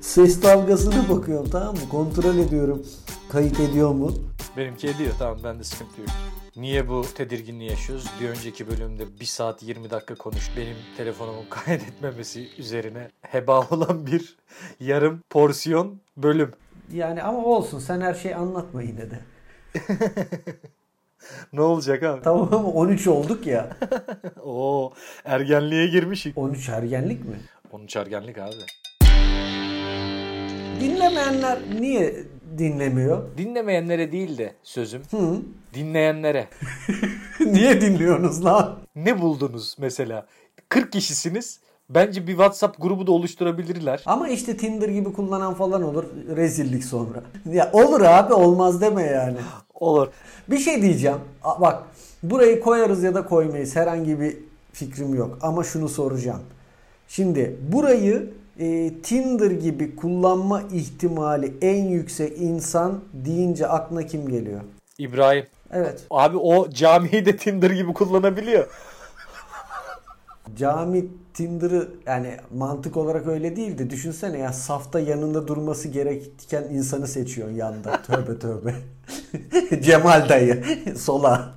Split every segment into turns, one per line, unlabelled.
ses dalgasına bakıyorum tamam mı? Kontrol ediyorum. Kayıt ediyor mu?
Benimki ediyor tamam bende sıkıntı yok. Niye bu tedirginliği yaşıyoruz? Bir önceki bölümde 1 saat 20 dakika konuş benim telefonumun kaydetmemesi üzerine heba olan bir yarım porsiyon bölüm.
Yani ama olsun sen her şeyi anlatma yine de.
Ne olacak abi?
Tamam ama 13 olduk ya.
Oo ergenliğe girmişik.
13 ergenlik mi?
Onun ergenlik abi.
Dinlemeyenler niye dinlemiyor?
Dinlemeyenlere değil de sözüm.
Hı?
Dinleyenlere.
niye dinliyorsunuz lan?
Ne buldunuz mesela? 40 kişisiniz. Bence bir WhatsApp grubu da oluşturabilirler.
Ama işte Tinder gibi kullanan falan olur. Rezillik sonra. Ya olur abi olmaz deme yani.
Olur.
Bir şey diyeceğim. A- Bak burayı koyarız ya da koymayız. Herhangi bir fikrim yok. Ama şunu soracağım. Şimdi burayı e, Tinder gibi kullanma ihtimali en yüksek insan deyince aklına kim geliyor?
İbrahim.
Evet.
Abi o camiyi de Tinder gibi kullanabiliyor.
Cami Tinder'ı yani mantık olarak öyle değil de düşünsene ya safta yanında durması gereken insanı seçiyorsun yanda. Tövbe tövbe. Cemal dayı sola.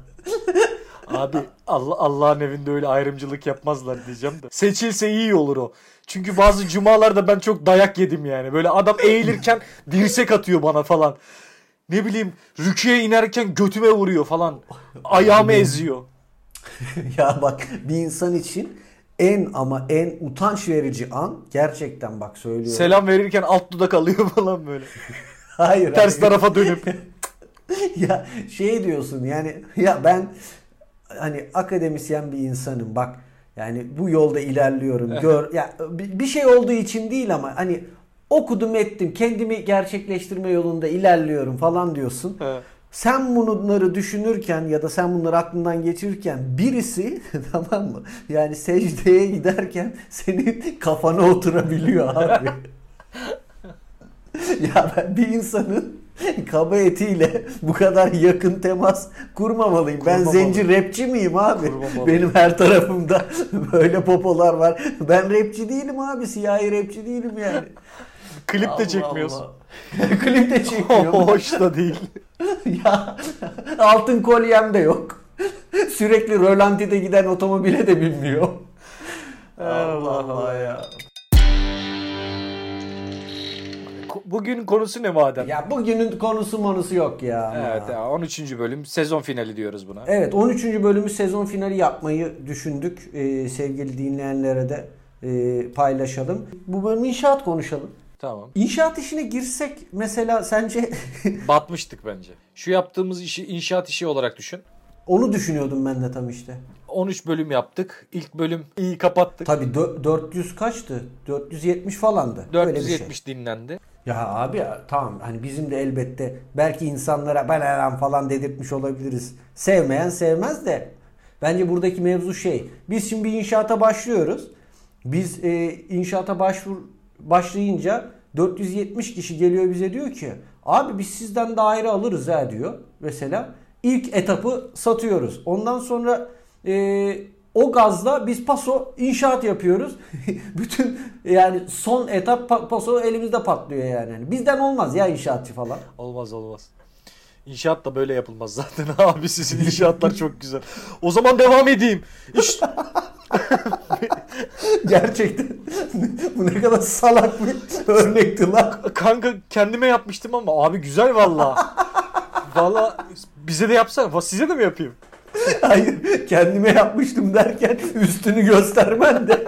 Abi Allah Allah'ın evinde öyle ayrımcılık yapmazlar diyeceğim de. Seçilse iyi olur o. Çünkü bazı cumalarda ben çok dayak yedim yani. Böyle adam eğilirken dirsek atıyor bana falan. Ne bileyim rüküye inerken götüme vuruyor falan. Ayağımı eziyor.
Ya bak bir insan için en ama en utanç verici an gerçekten bak söylüyorum.
Selam verirken alt dudak alıyor falan böyle.
Hayır.
Ters
hayır.
tarafa dönüp.
ya şey diyorsun yani ya ben hani akademisyen bir insanım bak yani bu yolda ilerliyorum gör ya bi- bir şey olduğu için değil ama hani okudum ettim kendimi gerçekleştirme yolunda ilerliyorum falan diyorsun.
Evet.
Sen bunları düşünürken ya da sen bunları aklından geçirirken birisi tamam mı? Yani secdeye giderken senin kafana oturabiliyor abi. ya ben bir insanın kaba etiyle bu kadar yakın temas kurmamalıyım. Ben
Kurmamalı.
zenci rapçi miyim abi?
Kurmamalı.
Benim her tarafımda böyle popolar var. Ben rapçi değilim abi. Siyahi rapçi değilim yani.
Klip de
Allah
çekmiyorsun.
Allah. Klip de çekmiyorum.
Hoş da değil.
Ya altın kolyem de yok. Sürekli rölantide giden otomobile de binmiyor. Allah Allah ya.
Ko- Bugün konusu ne madem?
Ya bugünün konusu monusu yok ya.
Evet, ya, 13. bölüm sezon finali diyoruz buna.
Evet 13. bölümü sezon finali yapmayı düşündük. Ee, sevgili dinleyenlere de e, paylaşalım. Bu bölüm inşaat konuşalım.
Tamam.
İnşaat işine girsek mesela sence
Batmıştık bence. Şu yaptığımız işi inşaat işi olarak düşün.
onu düşünüyordum ben de tam işte.
13 bölüm yaptık. İlk bölüm iyi kapattık.
Tabii dö- 400 kaçtı? 470 falandı. Öyle bir şey.
470 dinlendi.
Ya abi ya, tamam hani bizim de elbette belki insanlara ben elan falan dedirtmiş olabiliriz. Sevmeyen sevmez de bence buradaki mevzu şey. Biz şimdi bir inşaata başlıyoruz. Biz e, inşaata başvur başlayınca 470 kişi geliyor bize diyor ki abi biz sizden daire alırız ha diyor mesela. İlk etapı satıyoruz. Ondan sonra e, o gazla biz paso inşaat yapıyoruz. Bütün yani son etap pa- paso elimizde patlıyor yani. Yani Bizden olmaz ya inşaatçı falan.
Olmaz olmaz. İnşaat da böyle yapılmaz zaten abi sizin inşaatlar çok güzel. O zaman devam edeyim. İş-
Gerçekten bu ne kadar salak bir örnekti lan.
kanka kendime yapmıştım ama abi güzel valla. Valla bize de yapsana. Va- Size de mi yapayım?
Hayır kendime yapmıştım derken üstünü göstermen de.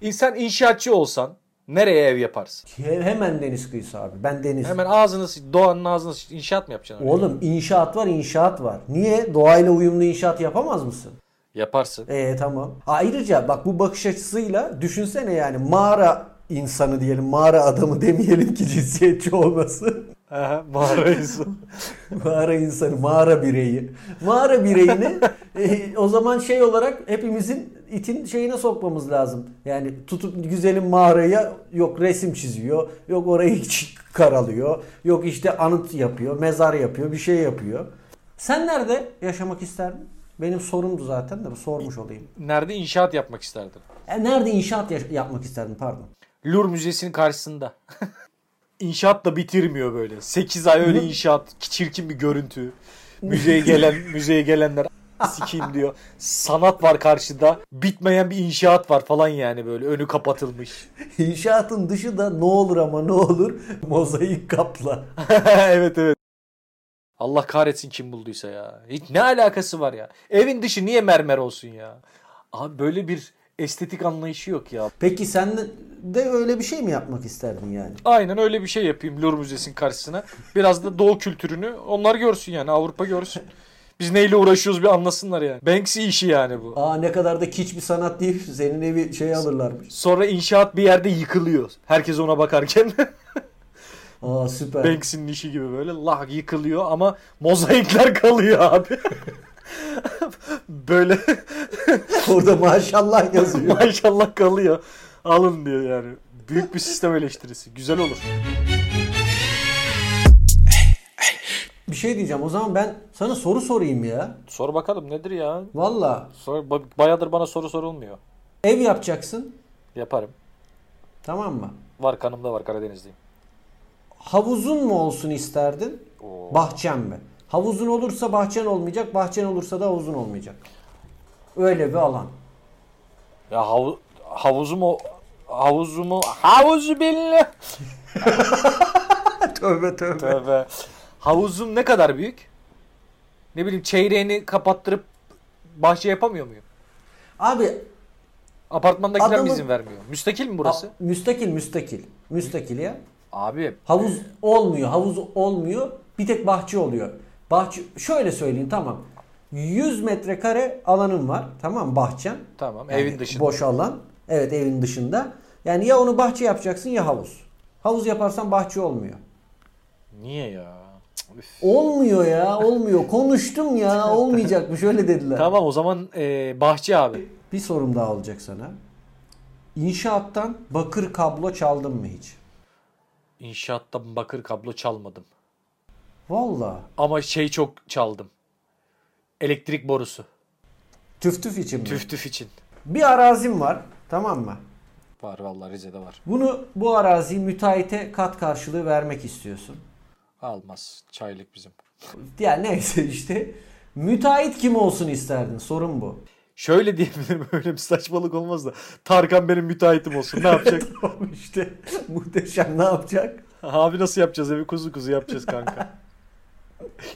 İnsan inşaatçı olsan nereye ev yaparsın?
He- Hemen deniz kıyısı abi. Ben deniz.
Hemen ağzını sı- doğanın ağzını sı- inşaat mı yapacaksın? abi?
Oğlum inşaat var inşaat var. Niye? Doğayla uyumlu inşaat yapamaz mısın?
Yaparsın.
Ee tamam. Ayrıca bak bu bakış açısıyla düşünsene yani mağara insanı diyelim mağara adamı demeyelim ki cinsiyetçi olması.
Aha, mağara insanı.
mağara insanı, mağara bireyi. Mağara bireyini e, o zaman şey olarak hepimizin itin şeyine sokmamız lazım. Yani tutup güzelim mağaraya yok resim çiziyor, yok orayı ç- karalıyor, yok işte anıt yapıyor, mezar yapıyor, bir şey yapıyor. Sen nerede yaşamak isterdin? Benim sorumdu zaten de sormuş olayım.
Nerede inşaat yapmak isterdin?
E, Nerede inşaat yaş- yapmak isterdin pardon.
Lur Müzesi'nin karşısında. İnşaat da bitirmiyor böyle. 8 ay öyle inşaat. Çirkin bir görüntü. Müzeye gelen müzeye gelenler sikeyim diyor. Sanat var karşıda. Bitmeyen bir inşaat var falan yani böyle. Önü kapatılmış.
İnşaatın dışı da ne olur ama ne olur mozaik kapla.
evet evet. Allah kahretsin kim bulduysa ya. Hiç ne alakası var ya? Evin dışı niye mermer olsun ya? Abi böyle bir estetik anlayışı yok ya.
Peki sen de- de öyle bir şey mi yapmak isterdin yani?
Aynen öyle bir şey yapayım Louvre Müzesi'nin karşısına. Biraz da doğu kültürünü onlar görsün yani Avrupa görsün. Biz neyle uğraşıyoruz bir anlasınlar yani. Banksy işi yani bu.
Aa ne kadar da kiç bir sanat değil. Senin evi şey alırlarmış.
Sonra inşaat bir yerde yıkılıyor. Herkes ona bakarken
Aa süper.
Banksy'nin işi gibi böyle lah yıkılıyor ama mozaikler kalıyor abi. böyle
Orada maşallah yazıyor.
maşallah kalıyor. Alın diyor yani. Büyük bir sistem eleştirisi. Güzel olur.
bir şey diyeceğim. O zaman ben sana soru sorayım ya.
Sor bakalım nedir ya?
Valla
Sor, ba- bayağıdır bana soru sorulmuyor.
ev yapacaksın.
Yaparım.
Tamam mı?
Var kanımda var Karadenizliyim.
Havuzun mu olsun isterdin?
Oo.
Bahçen mi? Havuzun olursa bahçen olmayacak. Bahçen olursa da havuzun olmayacak. Öyle bir alan.
Ya hav havuzumu havuzumu havuzu billah.
Tövbe tövbe.
Tövbe. Havuzum ne kadar büyük? Ne bileyim çeyreğini kapattırıp bahçe yapamıyor muyum?
Abi
Apartmandakiler mi
Adamın-
izin vermiyor? Müstakil mi burası?
a- müstakil müstakil. Müstakil ya.
Abi
Havuz olmuyor. Havuz olmuyor. Bir tek bahçe oluyor. Bahçe şöyle söyleyeyim tamam. 100 metrekare alanın var. Tamam bahçen.
tamam
Yani
evin dışında.
Boş alan. Evet evin dışında. Yani ya onu bahçe yapacaksın ya havuz. Havuz yaparsan bahçe olmuyor.
Niye ya? Cık, üf.
Olmuyor ya olmuyor. Konuştum ya olmayacakmış öyle dediler.
Tamam o zaman e, bahçe abi.
Bir sorum daha olacak sana. İnşaattan bakır kablo çaldın mı hiç?
İnşaatta bakır kablo çalmadım.
Valla.
Ama şey çok çaldım. Elektrik borusu.
Tüf tüf için mi?
Tüf tüf için.
Bir arazim var tamam mı?
Var vallahi Rize'de var.
Bunu bu araziyi müteahhite kat karşılığı vermek istiyorsun.
Almaz. Çaylık bizim.
Yani neyse işte. Müteahhit kim olsun isterdin? Sorun bu.
Şöyle diyebilirim öyle bir saçmalık olmaz da. Tarkan benim müteahhitim olsun. Ne yapacak?
Tamam işte muhteşem ne yapacak?
Abi nasıl yapacağız evi kuzu kuzu yapacağız kanka.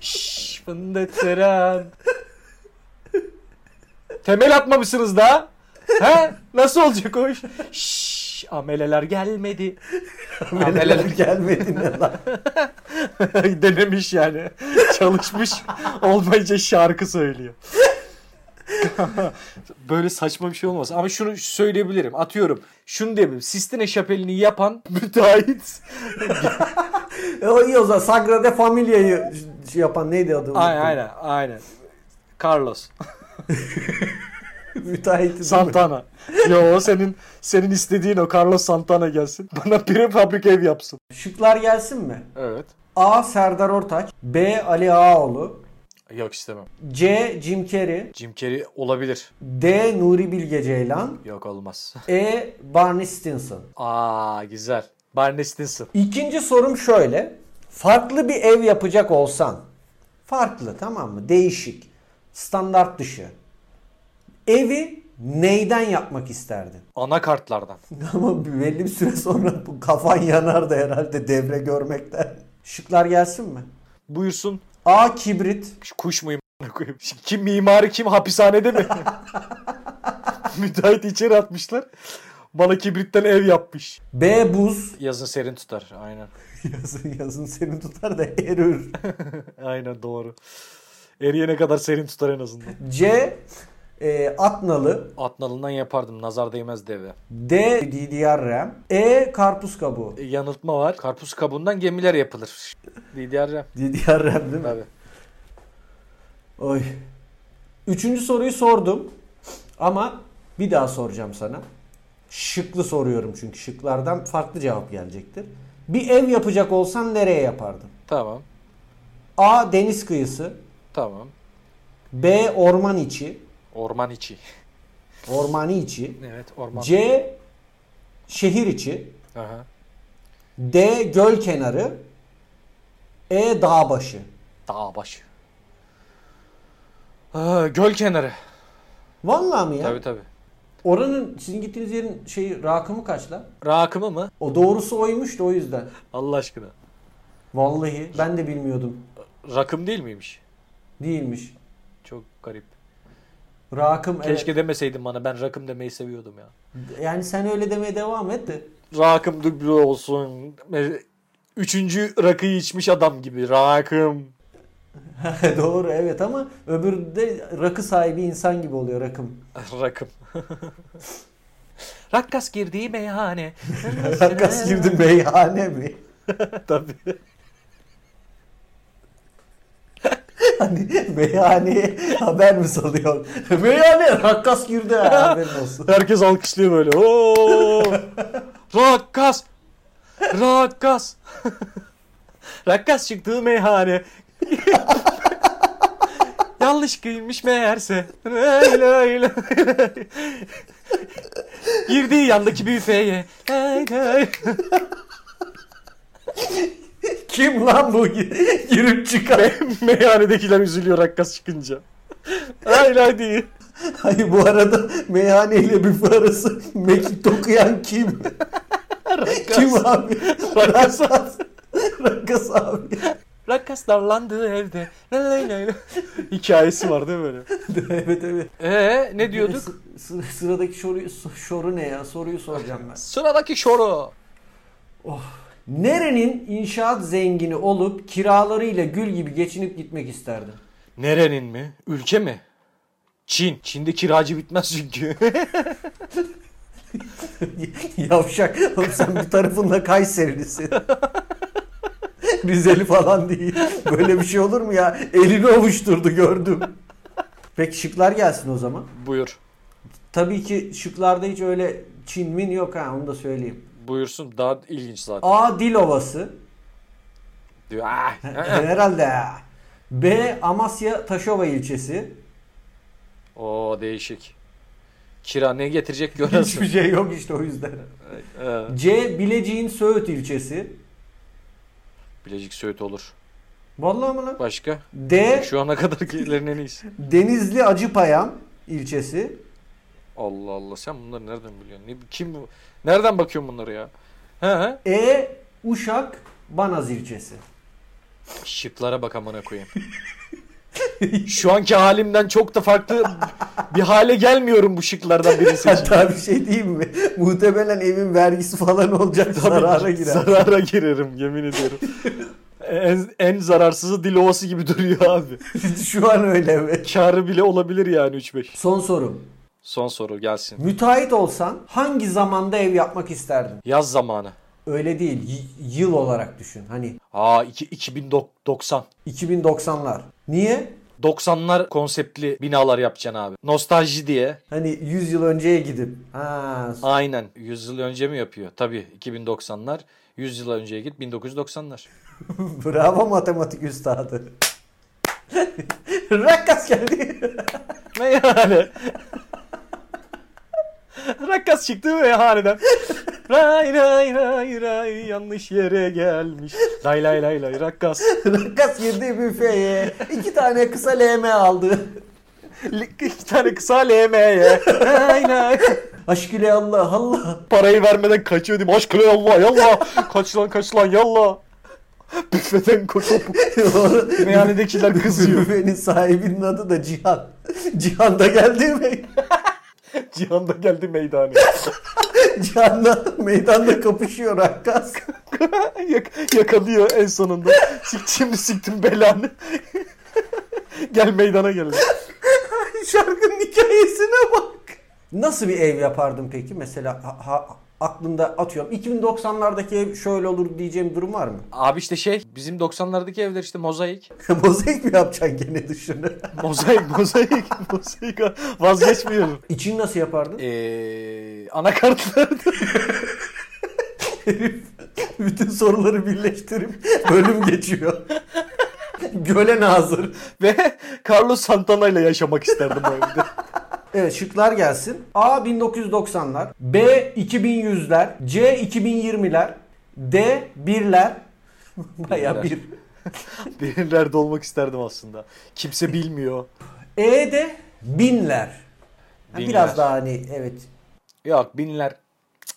Şşş fındık Seren. Temel atmamışsınız daha. He? Nasıl olacak o iş? Şşş ameleler gelmedi. ameleler
gelmedi ne lan?
denemiş yani. Çalışmış olmayınca şarkı söylüyor. Böyle saçma bir şey olmaz. Ama şunu söyleyebilirim. Atıyorum. Şunu diyebilirim. Sistine Şapeli'ni yapan müteahhit.
E, o iyi o zaman Sagrada Familia'yı şey yapan neydi adı?
aynen aynen. aynen. Carlos.
Müteahhiti.
Santana. Yo senin senin istediğin o Carlos Santana gelsin. Bana prefabrik ev yapsın.
Şıklar gelsin mi?
Evet.
A. Serdar Ortaç B. Ali Ağaoğlu
Yok istemem.
C. Jim Carrey
Jim Carrey olabilir.
D. Nuri Bilge Ceylan
Yok olmaz.
E. Barney Stinson
Aa güzel. Barney Stinson.
İkinci sorum şöyle. Farklı bir ev yapacak olsan, farklı tamam mı? Değişik, standart dışı. Evi neyden yapmak isterdin?
Ana kartlardan.
Ama bir- belli bir süre sonra bu kafan yanar da herhalde devre görmekten. Şıklar gelsin mi?
Buyursun.
A. Kibrit.
Şu Kuş muyum? a**ına koyayım? Şu Kim mimarı kim hapishanede mi? Müteahhit içeri atmışlar. Bana kibritten ev yapmış.
B. Buz.
Yazın serin tutar. Aynen.
Yazın yazın seni tutar da erir.
Aynen doğru. Eriyene kadar serin tutar en azından.
C. E, Atnalı.
Atnalından yapardım. Nazar değmez deve.
D. DDR RAM. E. Karpuz kabuğu.
yanıltma var. Karpuz kabuğundan gemiler yapılır. DDR
DDR RAM değil mi?
tabii.
Oy. Üçüncü soruyu sordum. Ama bir daha soracağım sana. Şıklı soruyorum çünkü şıklardan farklı cevap gelecektir. Bir ev yapacak olsan nereye yapardın?
Tamam.
A. Deniz kıyısı.
Tamam.
B. Orman içi.
Orman içi.
Ormani içi.
Evet orman.
C. şehir içi,
Aha.
D göl kenarı, E dağ başı.
Dağ başı. Aa, göl kenarı.
Vallahi mi ya?
Tabii tabii.
Oranın sizin gittiğiniz yerin şeyi rakamı kaç lan?
Rakımı mı?
O doğrusu oymuş da o yüzden.
Allah aşkına.
Vallahi ben de bilmiyordum.
Rakım değil miymiş?
Değilmiş.
Çok garip.
Rakım evet.
Keşke demeseydin bana. Ben rakım demeyi seviyordum ya.
Yani sen öyle demeye devam et de.
Rakım duble olsun. Üçüncü rakıyı içmiş adam gibi. Rakım.
Doğru evet ama öbürü de rakı sahibi insan gibi oluyor rakım.
Rakım. Rakkas girdiği meyhane.
Rakas girdi meyhane mi?
Tabii.
Hani meyhaneye haber mi salıyor? Meyhane rakas girdi ha, haberin olsun.
Herkes alkışlıyor böyle. Oo! Rakkas! Rakkas! Rakkas çıktığı meyhane. Yanlış giyinmiş meğerse. Lay lay lay. Girdiği yandaki büfeye. Lay lay.
Kim lan bu girip çıkan?
Meyhanedekiler üzülüyor rakkas çıkınca. Lay lay diye.
Hayır Hani bu arada meyhane ile büfe arası mekik okuyan kim? kim abi?
Rakas.
Rakas. Rakas abi.
Rakkas darlandığı evde. Lay lay lay. Hikayesi var değil mi böyle?
evet evet.
Ee ne diyorduk?
Sı- sı- sıradaki soruyu so- soru ne ya? Soruyu soracağım ben.
Sıradaki şoru.
Nerenin inşaat zengini olup kiralarıyla gül gibi geçinip gitmek isterdin?
Nerenin mi? Ülke mi? Çin. Çin'de kiracı bitmez çünkü.
Yavşak. Oğlum sen bir tarafınla Kayserilisin. Rizeli falan değil. Böyle bir şey olur mu ya? Elini ovuşturdu gördüm. Peki şıklar gelsin o zaman.
Buyur.
Tabii ki şıklarda hiç öyle Çin min yok ha onu da söyleyeyim.
Buyursun daha ilginç zaten.
A. Dil Ovası.
Diyor. "Ah."
Herhalde. ha. B. Amasya Taşova ilçesi.
Oo değişik. Kira ne getirecek
Hiçbir
görürsün.
şey yok işte o yüzden.
Ee,
C. Bilecik'in Söğüt ilçesi.
Bilecik Söğüt olur.
Vallahi mı lan?
Başka?
D.
Şu ana kadar gelen en iyisi.
Denizli Acıpayam ilçesi.
Allah Allah sen bunları nereden biliyorsun? Ne, kim bu? Nereden bakıyorsun bunları ya? He he.
E. Uşak Banaz ilçesi.
Şıklara bak amına koyayım. Şu anki halimden çok da farklı bir hale gelmiyorum bu şıklardan birisi için.
Hatta bir şey diyeyim mi? Muhtemelen evin vergisi falan olacak zarara girer.
Zarara girerim yemin ediyorum. en, en zararsızı dil ovası gibi duruyor abi.
Şu an öyle mi?
Karı bile olabilir yani 3-5.
Son sorum.
Son soru gelsin.
Müteahhit olsan hangi zamanda ev yapmak isterdin?
Yaz zamanı.
Öyle değil. y- yıl olarak düşün. Hani
Aa iki- 2090.
2090'lar. Niye?
90'lar konseptli binalar yapacaksın abi. Nostalji diye.
Hani 100 yıl önceye gidip. Ha,
Aynen. 100 yıl önce mi yapıyor? Tabii 2090'lar. 100 yıl önceye git 1990'lar.
bravo matematik üstadı. Rakkas geldi.
Ne yani? Rakkas çıktı ve haneden. Ray ray ray ray yanlış yere gelmiş. Lay lay lay lay rakkas.
Rakkas girdi büfeye. iki tane kısa LM aldı.
L- İki tane kısa LM'ye. Lay lay.
Aşk ile Allah Allah.
Parayı vermeden kaçıyor diyeyim. Aşkına yallah yallah. Kaç lan kaç lan yallah. Büfeden koşup meyhanedekiler kızıyor.
Büfenin sahibinin adı da Cihan. Cihan da geldi mi?
Cihan da geldi meydana.
Cihan'la meydanda kapışıyor Rakkas.
Yak- yakalıyor en sonunda. Sik- Şimdi siktim belanı. gel meydana gel.
Şarkının hikayesine bak. Nasıl bir ev yapardım peki? Mesela ha- ha- aklında atıyorum 2090'lardaki ev şöyle olur diyeceğim bir durum var mı?
Abi işte şey bizim 90'lardaki evler işte mozaik.
Mozaik mi yapacaksın gene dışını?
Mozaik, mozaik, mozaik. Vazgeçmiyorum.
İçini nasıl yapardın?
Eee anakartlar.
Bütün soruları birleştirip bölüm geçiyor. Göle nazır.
Ve Carlos Santana ile yaşamak isterdim o evde.
Evet şıklar gelsin. A 1990'lar, B 2100'ler, C 2020'ler, D 1'ler. Baya
Birler.
bir.
Birilerde olmak isterdim aslında. Kimse bilmiyor.
E de 1000'ler. Ha,
Binler.
Biraz daha hani evet.
Yok binler. Cık.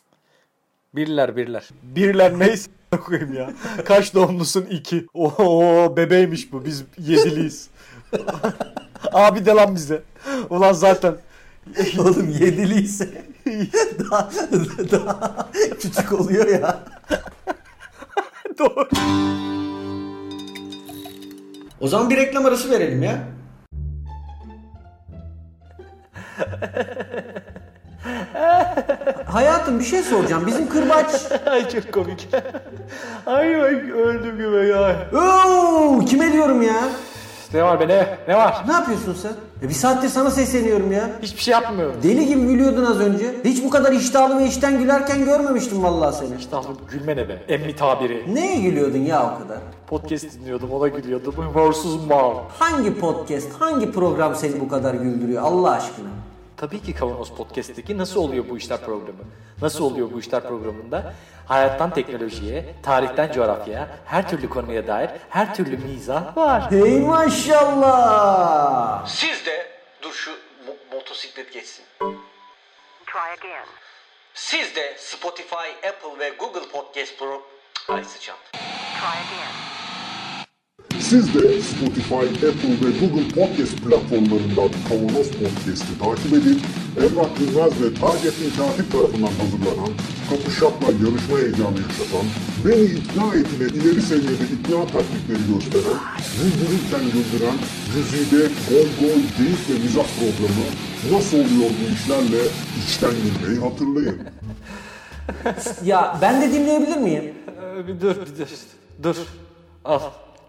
Birler birler. Birler neyse koyayım ya. Kaç doğumlusun? iki. Oo bebeymiş bu. Biz yediliyiz. Abi de lan bize. Ulan zaten.
Oğlum yedili ise daha, daha küçük oluyor ya.
Doğru.
O zaman bir reklam arası verelim ya. Hayatım bir şey soracağım. Bizim kırbaç
Ay çok komik. Ay bak öldüm gibi ya.
Oo, kime diyorum ya?
Ne var be ne? Ne var?
Ne yapıyorsun sen? E bir saattir sana sesleniyorum ya.
Hiçbir şey yapmıyorum.
Deli gibi gülüyordun az önce. Hiç bu kadar iştahlı ve işten gülerken görmemiştim vallahi seni.
İştahlı gülme ne be? Emmi tabiri.
Neye gülüyordun ya o kadar?
Podcast dinliyordum ona gülüyordum. Humorsuz mal.
Hangi podcast, hangi program seni bu kadar güldürüyor Allah aşkına?
Tabii ki Kavanoz Podcast'teki Nasıl Oluyor Bu İşler programı. Nasıl Oluyor Bu İşler programında hayattan teknolojiye, tarihten coğrafyaya, her türlü konuya dair her türlü mizah var.
Hey maşallah.
Siz de dur şu mo- motosiklet geçsin.
Try again.
Siz de Spotify, Apple ve Google Podcast Pro... Ay sıçan.
Try again.
Siz de Spotify, Apple ve Google Podcast platformlarından Kavanoz Podcast'i takip edin. Emrah Gülmez ve Target'in katip tarafından hazırlanan, kapışakla yarışma heyecanı yaşatan, beni ikna etine ileri seviyede ikna taktikleri gösteren, güldürürken güldüren, güzide gol gol deyip ve mizah programı nasıl oluyor bu işlerle içten gülmeyi hatırlayın.
Ya ben de dinleyebilir miyim?
Bir dur, bir dur. Dur. Al.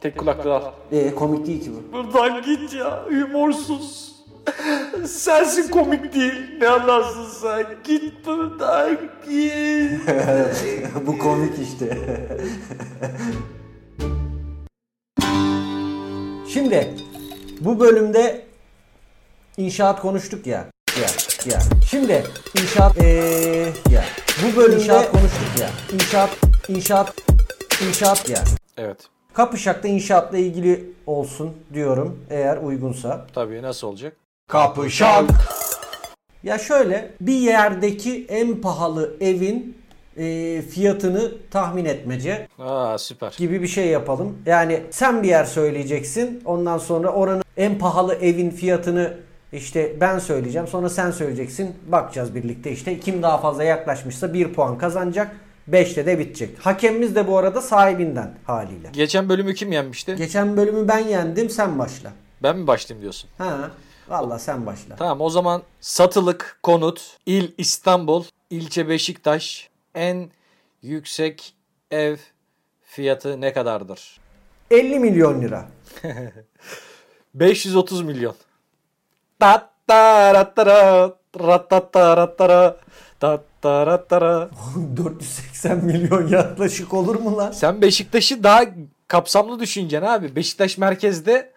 Tek kulaklığı al.
Ee, komik değil ki bu.
Buradan git ya. Humorsuz. Sensin komik değil. Ne anlarsın sen? Git buradan git.
bu komik işte. Şimdi bu bölümde inşaat konuştuk ya. Ya ya. Şimdi inşaat eee ya. Bu bölümde inşaat konuştuk ya. İnşaat inşaat inşaat ya.
Evet.
Kapışak'ta inşaatla ilgili olsun diyorum eğer uygunsa.
Tabii nasıl olacak?
Kapışak. Ya şöyle bir yerdeki en pahalı evin e, fiyatını tahmin etmece
Aa süper.
gibi bir şey yapalım. Yani sen bir yer söyleyeceksin. Ondan sonra oranın en pahalı evin fiyatını işte ben söyleyeceğim. Sonra sen söyleyeceksin. Bakacağız birlikte işte kim daha fazla yaklaşmışsa 1 puan kazanacak. 5'te de bitecek. Hakemimiz de bu arada sahibinden haliyle.
Geçen bölümü kim yenmişti?
Geçen bölümü ben yendim. Sen başla.
Ben mi başlayayım diyorsun?
Ha. Vallahi sen başla.
Tamam o zaman satılık konut, il İstanbul, ilçe Beşiktaş en yüksek ev fiyatı ne kadardır?
50 milyon lira.
530 milyon. Tattarattara, rattarattara, tattarattara.
480 milyon yaklaşık olur mu lan?
Sen Beşiktaş'ı daha kapsamlı düşüneceksin abi. Beşiktaş merkezde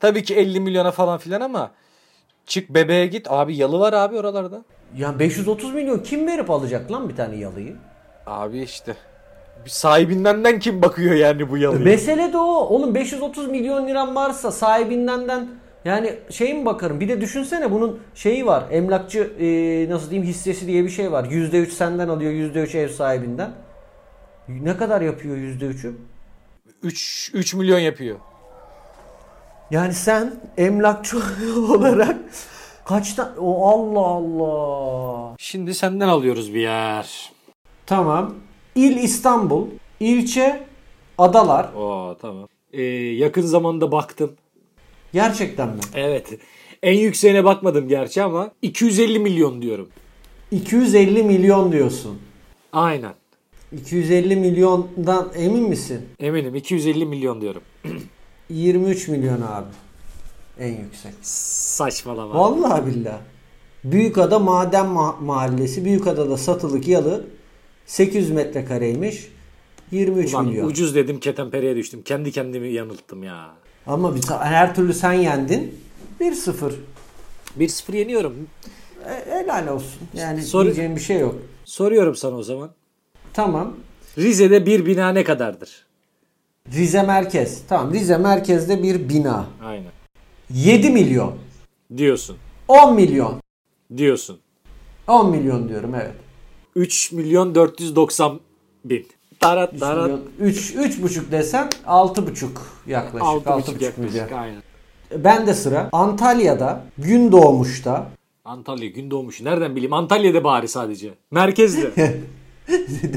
tabii ki 50 milyona falan filan ama çık bebeğe git. Abi yalı var abi oralarda.
Ya 530 milyon kim verip alacak lan bir tane yalıyı?
Abi işte. Bir sahibindenden kim bakıyor yani bu yalıya?
Mesele de o. Oğlum 530 milyon liran varsa sahibindenden yani şey mi bakarım? Bir de düşünsene bunun şeyi var. Emlakçı e, nasıl diyeyim hissesi diye bir şey var. %3 senden alıyor, %3 ev sahibinden. Ne kadar yapıyor %3'ü?
3 3 milyon yapıyor.
Yani sen emlakçı olarak kaçta o Allah Allah.
Şimdi senden alıyoruz bir yer.
Tamam. İl İstanbul, ilçe Adalar.
Oo tamam. Ee, yakın zamanda baktım.
Gerçekten mi?
Evet. En yükseğine bakmadım gerçi ama 250 milyon diyorum.
250 milyon diyorsun.
Aynen.
250 milyondan emin misin?
Eminim 250 milyon diyorum.
23 milyon abi. En yüksek.
Saçmalama.
Vallahi billahi. Büyükada Maden Ma- Mahallesi, Büyükada'da satılık yalı 800 metrekareymiş. 23
Ulan
milyon.
ucuz dedim ketenpereye düştüm. Kendi kendimi yanılttım ya.
Ama bir ta- her türlü sen yendin. 1-0.
1-0 yeniyorum.
E, helal olsun. Yani
Soru-
diyeceğim bir şey yok.
Soruyorum sana o zaman.
Tamam.
Rize'de bir bina ne kadardır?
Rize merkez. Tamam Rize merkezde bir bina.
Aynen.
7 milyon.
Diyorsun.
10 milyon.
Diyorsun.
10 milyon diyorum evet.
3 milyon 490 bin. Tarat
3
tarat.
milyon. 3 3,5 desen 6,5 yaklaşık.
6,5
6,5
yaklaşık.
milyon.
Aynen.
Ben de sıra Antalya'da gün doğmuşta
Antalya gün doğmuş. Nereden bileyim? Antalya'da bari sadece. Merkezde.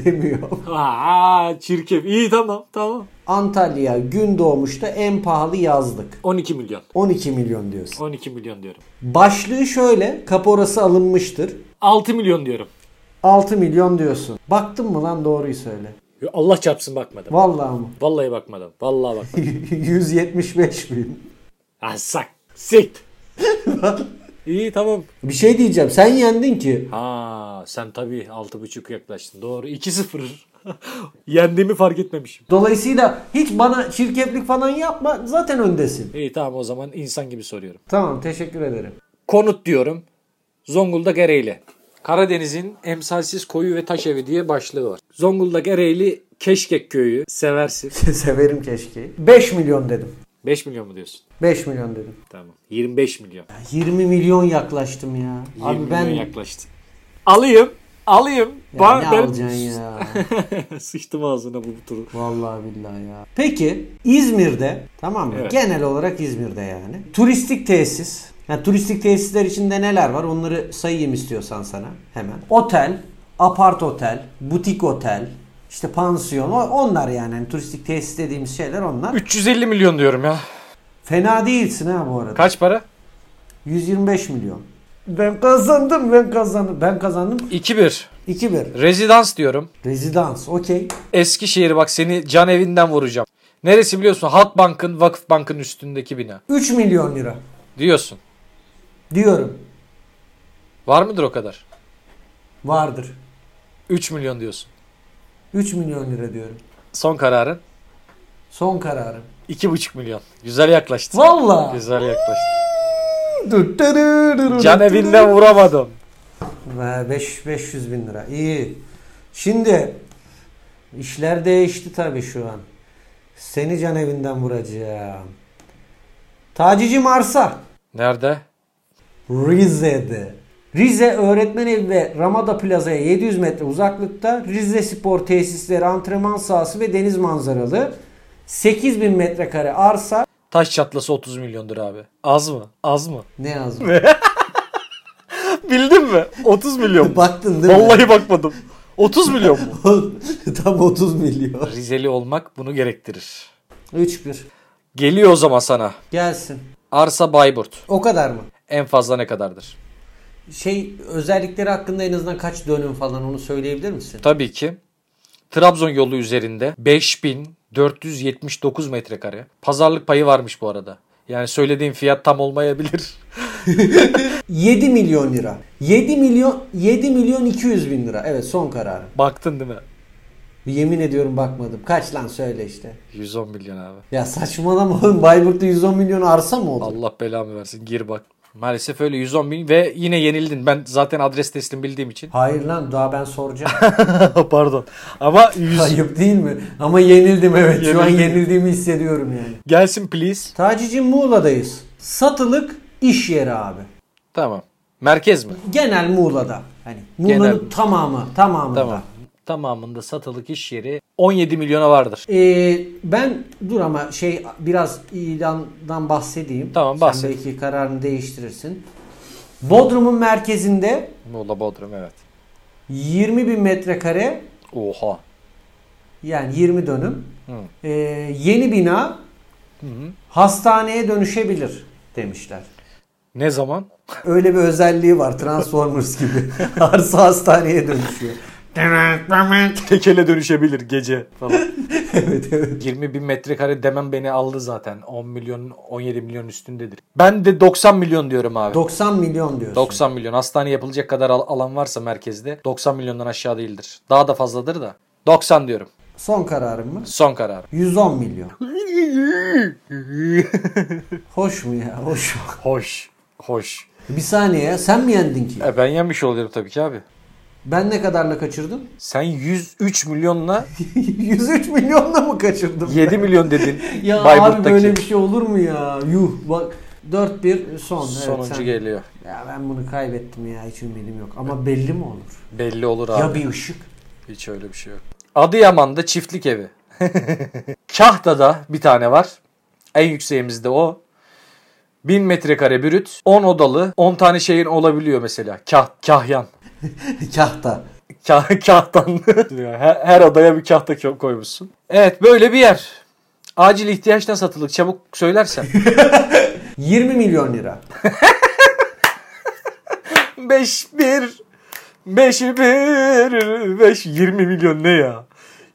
demiyor.
Aa, çirkef. İyi tamam tamam.
Antalya gün doğmuşta en pahalı yazlık.
12 milyon.
12 milyon diyorsun.
12 milyon diyorum.
Başlığı şöyle kaporası alınmıştır.
6 milyon diyorum.
6 milyon diyorsun. Baktın mı lan doğruyu söyle.
Ya Allah çarpsın bakmadım.
Vallahi mı?
Vallahi bakmadım. Vallahi bakmadım.
175 bin.
Ha sak. Sit. İyi tamam.
Bir şey diyeceğim. Sen yendin ki.
Ha sen tabii 6.5 yaklaştın. Doğru. 2-0. Yendiğimi fark etmemişim.
Dolayısıyla hiç bana çirkeflik falan yapma. Zaten öndesin.
İyi tamam o zaman insan gibi soruyorum.
Tamam teşekkür ederim.
Konut diyorum. Zonguldak Ereğli. Karadeniz'in emsalsiz koyu ve taş evi diye başlığı var. Zonguldak Ereğli Keşkek köyü seversin.
Severim keşke. 5 milyon dedim.
5 milyon mu diyorsun?
5 milyon dedim.
Tamam. 25 milyon.
20 milyon yaklaştım ya.
20
Abi ben
milyon yaklaştın. Alayım. Alayım.
Ya
Ba-
ne
ben-
alacaksın ya?
Sıçtım ağzına bu turu.
Vallahi billahi ya. Peki İzmir'de tamam mı?
Evet.
Genel olarak İzmir'de yani. Turistik tesis. Yani turistik tesisler içinde neler var onları sayayım istiyorsan sana hemen. Otel, apart otel, butik otel, işte pansiyon o- onlar yani. Hani turistik tesis dediğimiz şeyler onlar.
350 milyon diyorum ya.
Fena değilsin ha bu arada.
Kaç para?
125 milyon. Ben kazandım ben kazandım. Ben kazandım
2-1.
2-1.
Rezidans diyorum.
Rezidans okey.
Eskişehir bak seni can evinden vuracağım. Neresi biliyorsun? Halkbank'ın, Vakıfbank'ın üstündeki bina.
3 milyon lira
Diyorsun.
diyorum.
Var mıdır o kadar?
Vardır.
3 milyon diyorsun.
3 milyon lira diyorum.
Son kararın?
Son kararım.
2,5 milyon. Güzel yaklaştın.
Valla.
Güzel yaklaştın. Can evinden vuramadım.
5 500 bin lira. İyi. Şimdi işler değişti tabii şu an. Seni can evinden vuracağım. Tacici Marsa.
Nerede?
Rize'de. Rize Öğretmen Evi ve Ramada Plaza'ya 700 metre uzaklıkta Rize Spor Tesisleri antrenman sahası ve deniz manzaralı 8000 metrekare arsa
Taş çatlası 30 milyondur abi. Az mı? Az mı?
ne yazmış?
Bildin mi? 30 milyon.
Baktın değil mi?
Vallahi bakmadım. 30 milyon mu?
Tam 30 milyon.
Rizeli olmak bunu gerektirir.
3-1.
Geliyor o zaman sana.
Gelsin.
Arsa Bayburt.
O kadar mı?
En fazla ne kadardır?
Şey özellikleri hakkında en azından kaç dönüm falan onu söyleyebilir misin?
Tabii ki Trabzon yolu üzerinde 5479 metrekare. Pazarlık payı varmış bu arada. Yani söylediğim fiyat tam olmayabilir.
7 milyon lira. 7 milyon 7 milyon 200 bin lira. Evet son kararım.
Baktın değil mi?
Yemin ediyorum bakmadım. Kaç lan söyle işte.
110 milyon abi.
Ya saçmalama oğlum Bayburt'ta 110 milyon arsa mı oldu?
Allah belamı versin gir bak. Maalesef öyle 110 bin ve yine yenildin. Ben zaten adres teslim bildiğim için.
Hayır lan daha ben soracağım.
Pardon. Ama 100...
Ayıp değil mi? Ama yenildim evet. Şu an
Yenildim.
yenildiğimi hissediyorum yani.
Gelsin please.
Tacici Muğla'dayız. Satılık iş yeri abi.
Tamam. Merkez mi?
Genel Muğla'da. Hani Muğla'nın
Genel.
tamamı, tamamında.
Tamam. Tamamında satılık iş yeri 17 milyona vardır.
Ee, ben dur ama şey biraz ilandan bahsedeyim.
Tamam, bahset.
Sen belki kararını değiştirirsin. Bodrum'un merkezinde
Muğla Bodrum evet.
20 bin metrekare
Oha.
yani 20 dönüm ee, yeni bina hastaneye dönüşebilir demişler.
Ne zaman?
Öyle bir özelliği var Transformers gibi. Arsa hastaneye dönüşüyor.
tekele dönüşebilir gece falan.
evet evet.
20 bin metrekare demem beni aldı zaten. 10 milyon 17 milyon üstündedir. Ben de 90 milyon diyorum abi.
90 milyon diyorsun.
90 milyon. Hastane yapılacak kadar al- alan varsa merkezde 90 milyondan aşağı değildir. Daha da fazladır da. 90 diyorum.
Son kararım mı?
Son kararım.
110 milyon. Hoş mu ya? Hoş.
Hoş. Hoş.
Bir saniye ya, sen mi yendin ki?
E ben yenmiş oluyorum tabii ki abi.
Ben ne kadarla kaçırdım?
Sen 103 milyonla
103 milyonla mı kaçırdım?
7 milyon dedin.
Ya abi
Bayburt'taki.
böyle bir şey olur mu ya? Yuh bak 4-1 son. Evet,
Sonuncu
sen-
geliyor.
Ya ben bunu kaybettim ya hiç ümidim yok. Ama belli mi olur?
Belli olur
Ya
abi.
bir ışık.
Hiç öyle bir şey yok. Adıyaman'da çiftlik evi. Kahta'da bir tane var. En yükseğimizde o. 1000 metrekare brüt. 10 odalı. 10 tane şeyin olabiliyor mesela. Kah, kahyan.
Kahta.
Kah, kahtan. her, her odaya bir kahta ko- koymuşsun. Evet böyle bir yer. Acil ihtiyaçtan satılık. Çabuk söylersen.
20 milyon lira.
5 1 5 1 5 20 milyon ne ya?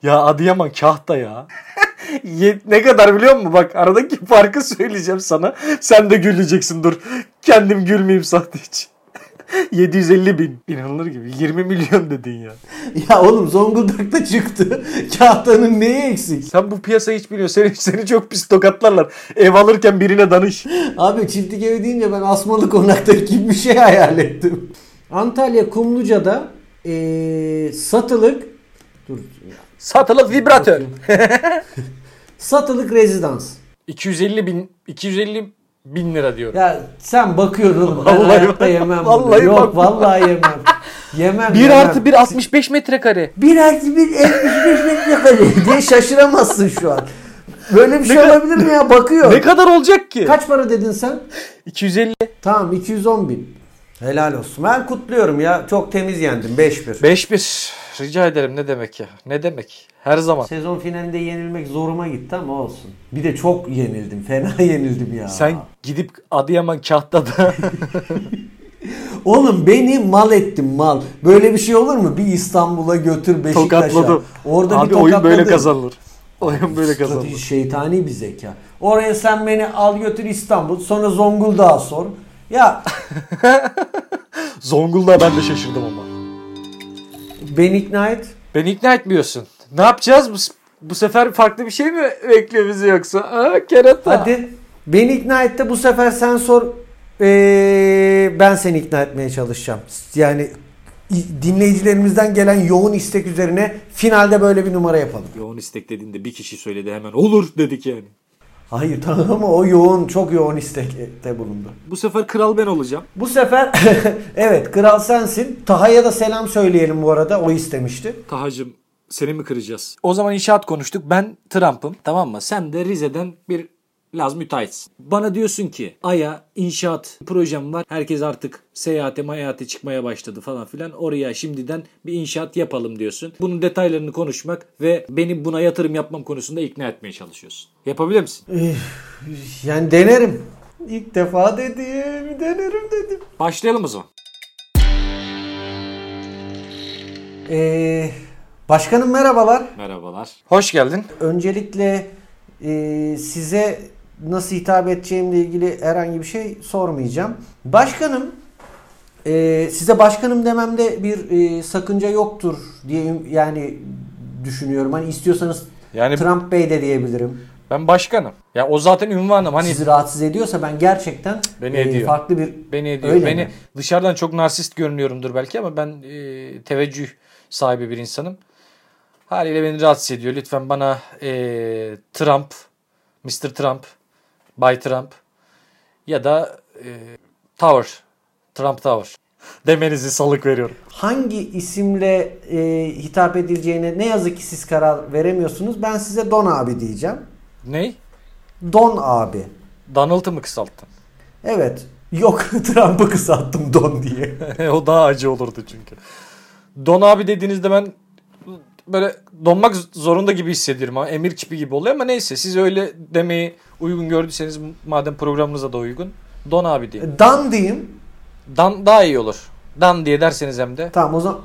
Ya Adıyaman kahta ya. Ye- ne kadar biliyor musun? Bak aradaki farkı söyleyeceğim sana. Sen de güleceksin dur. Kendim gülmeyeyim sahte için. 750 bin. İnanılır gibi. 20 milyon dedin ya.
Ya oğlum Zonguldak'ta çıktı. Kahtanın neyi eksik?
Sen bu piyasayı hiç biliyorsun. Seni, seni çok pis tokatlarlar. Ev alırken birine danış.
Abi çiftlik evi deyince ben asmalı konakta gibi bir şey hayal ettim. Antalya Kumluca'da eee, satılık dur
Satılık vibratör.
satılık rezidans.
250 bin 250 bin lira diyorum.
Ya sen bakıyorsun oğlum. Ben
Vallahi
hayatta
bak-
yemem. bunu.
vallahi
Yok
bakma.
vallahi yemem. Yemem.
1
yemem.
artı 1 65 metrekare.
1 artı 1 65 metrekare diye şaşıramazsın şu an. Böyle bir şey olabilir mi ya? Bakıyor.
Ne kadar olacak ki?
Kaç para dedin sen?
250.
Tamam 210 bin. Helal olsun. Ben kutluyorum ya. Çok temiz yendim. 5-1.
5-1. Rica ederim ne demek ya? Ne demek? Her zaman.
Sezon finalinde yenilmek zoruma gitti ama olsun. Bir de çok yenildim. Fena yenildim ya.
Sen gidip Adıyaman Kahta'da
Oğlum beni mal ettin mal. Böyle bir şey olur mu? Bir İstanbul'a götür Beşiktaş'a.
tokatladım.
Orada
Abi
bir
oyun
tokatladın.
böyle kazanılır. Oyun böyle kazanılır.
Strateji şeytani bir zeka. Oraya sen beni al götür İstanbul sonra Zonguldak'a sor. Ya
Zonguldak'a ben de şaşırdım ama.
beni ikna et.
Beni ikna etmiyorsun. Ne yapacağız? Bu, bu sefer farklı bir şey mi bekliyor bizi yoksa? Aa, kerata.
Hadi. Beni ikna et de bu sefer sen sor. Ee, ben seni ikna etmeye çalışacağım. Yani i- dinleyicilerimizden gelen yoğun istek üzerine finalde böyle bir numara yapalım.
Yoğun istek dediğinde bir kişi söyledi hemen olur dedik yani.
Hayır tamam ama o yoğun çok yoğun istekte bulundu.
Bu sefer kral ben olacağım.
Bu sefer evet kral sensin. Taha'ya da selam söyleyelim bu arada. O istemişti.
Tahacım seni mi kıracağız? O zaman inşaat konuştuk. Ben Trump'ım tamam mı? Sen de Rize'den bir Laz müteahhitsin. Bana diyorsun ki Ay'a inşaat projem var. Herkes artık seyahate mayahate çıkmaya başladı falan filan. Oraya şimdiden bir inşaat yapalım diyorsun. Bunun detaylarını konuşmak ve beni buna yatırım yapmam konusunda ikna etmeye çalışıyorsun. Yapabilir misin?
Yani denerim. İlk defa dedim, denerim dedim.
Başlayalım o zaman.
Ee, başkanım merhabalar.
Merhabalar.
Hoş geldin.
Öncelikle e, size nasıl hitap edeceğimle ilgili herhangi bir şey sormayacağım. Başkanım, e, size başkanım dememde bir e, sakınca yoktur diye yani düşünüyorum. Hani istiyorsanız
Yani-
Trump Bey de diyebilirim.
Ben başkanım. Ya o zaten ünvanım. Hani
Sizi rahatsız ediyorsa ben gerçekten e,
Beni ediyor.
farklı bir
Beni ediyor.
Öyle
beni
mi?
dışarıdan çok narsist görünüyorumdur belki ama ben e, teveccüh sahibi bir insanım. Haliyle beni rahatsız ediyor. Lütfen bana e, Trump, Mr. Trump, Bay Trump ya da e, Tower, Trump Tower demenizi salık veriyorum.
hangi isimle e, hitap edileceğine ne yazık ki siz karar veremiyorsunuz. Ben size Don abi diyeceğim.
Ney?
Don abi.
Donald'ı mı kısalttın?
Evet. Yok Trump'ı kısalttım Don diye.
o daha acı olurdu çünkü. Don abi dediğinizde ben böyle donmak zorunda gibi hissediyorum ama emir kipi gibi oluyor ama neyse siz öyle demeyi uygun gördüyseniz madem programınıza da uygun Don abi diye.
Dan diyeyim.
Dan daha iyi olur. Dan diye derseniz hem de.
Tamam o zaman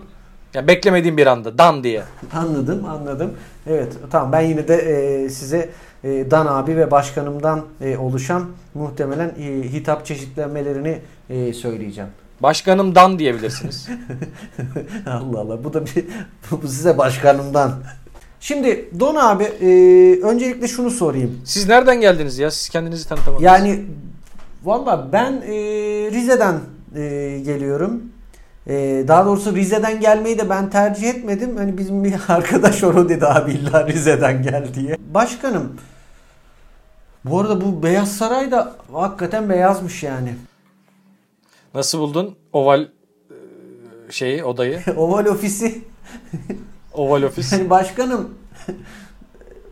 Ya beklemediğim bir anda Dan diye.
anladım anladım. Evet tamam ben yine de e, size e, Dan abi ve başkanımdan e, oluşan muhtemelen e, hitap çeşitlenmelerini e, söyleyeceğim.
Başkanım Dan diyebilirsiniz.
Allah Allah bu da bir bu size başkanımdan. Şimdi Don abi e, öncelikle şunu sorayım.
Siz nereden geldiniz ya? Siz kendinizi tanıtamadınız.
Yani valla ben e, Rize'den e, geliyorum. E, daha doğrusu Rize'den gelmeyi de ben tercih etmedim. Hani bizim bir arkadaş onu dedi abi illa Rize'den gel diye. Başkanım bu arada bu Beyaz Saray da hakikaten beyazmış yani.
Nasıl buldun oval e, şeyi odayı?
Oval ofisi
Oval ofis.
hani başkanım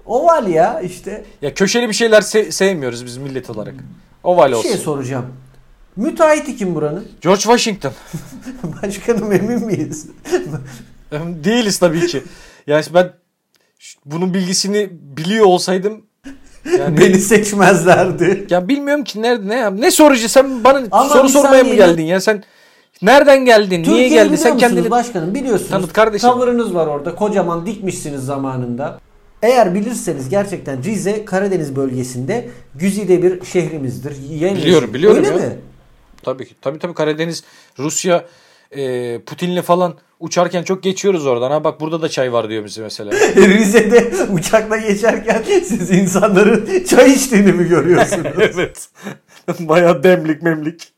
oval ya işte.
Ya köşeli bir şeyler se- sevmiyoruz biz millet olarak. Oval
Bir
olsun.
şey soracağım. Müteahhiti kim buranın?
George Washington.
Başkanım emin miyiz?
Değiliz tabii ki. Yani ben ş- bunun bilgisini biliyor olsaydım yani,
Beni seçmezlerdi.
ya bilmiyorum ki nerede ne yap- ne sorucu sen bana
Ama
soru
bir
sormaya mı
saniye.
geldin ya sen nereden geldin niye
Türkiye'yi
geldin
biliyor
sen
musunuz
kendini
başkanım biliyorsunuz.
Tanıt kardeşim.
Tavırınız var orada. Kocaman dikmişsiniz zamanında. Eğer bilirseniz gerçekten Rize Karadeniz bölgesinde güzide bir şehrimizdir. Yeni-
Biliyorum, biliyorum
Öyle
ya.
mi?
Tabii ki. Tabii tabii Karadeniz, Rusya, e, Putin'le falan uçarken çok geçiyoruz oradan. Ha bak burada da çay var diyor bize mesela.
Rize'de uçakla geçerken siz insanların çay içtiğini mi görüyorsunuz?
evet. Bayağı demlik memlik.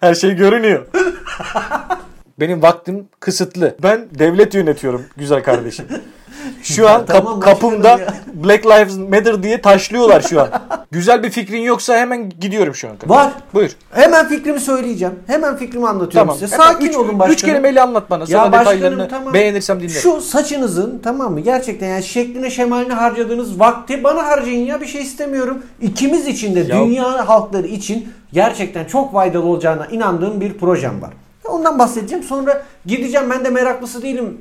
Her şey görünüyor. Benim vaktim kısıtlı. Ben devlet yönetiyorum güzel kardeşim. Şu an kap-
Tamam, başkanım
kapımda
ya.
Black Lives Matter diye taşlıyorlar şu an. Güzel bir fikrin yoksa hemen gidiyorum şu an.
Var.
Buyur.
Hemen fikrimi söyleyeceğim. Hemen fikrimi anlatıyorum
Tamam.
size. Sakin
üç,
olun başkanım.
Üç kelimeyle anlat bana. Sonra detaylarını beğenirsem dinlerim.
Şu saçınızın tamam mı gerçekten yani şekline şemaline harcadığınız vakti bana harcayın ya bir şey istemiyorum. İkimiz için de
Ya-
dünya halkları için gerçekten çok faydalı olacağına inandığım bir projem var. Ya Ondan bahsedeceğim sonra gideceğim ben de meraklısı değilim.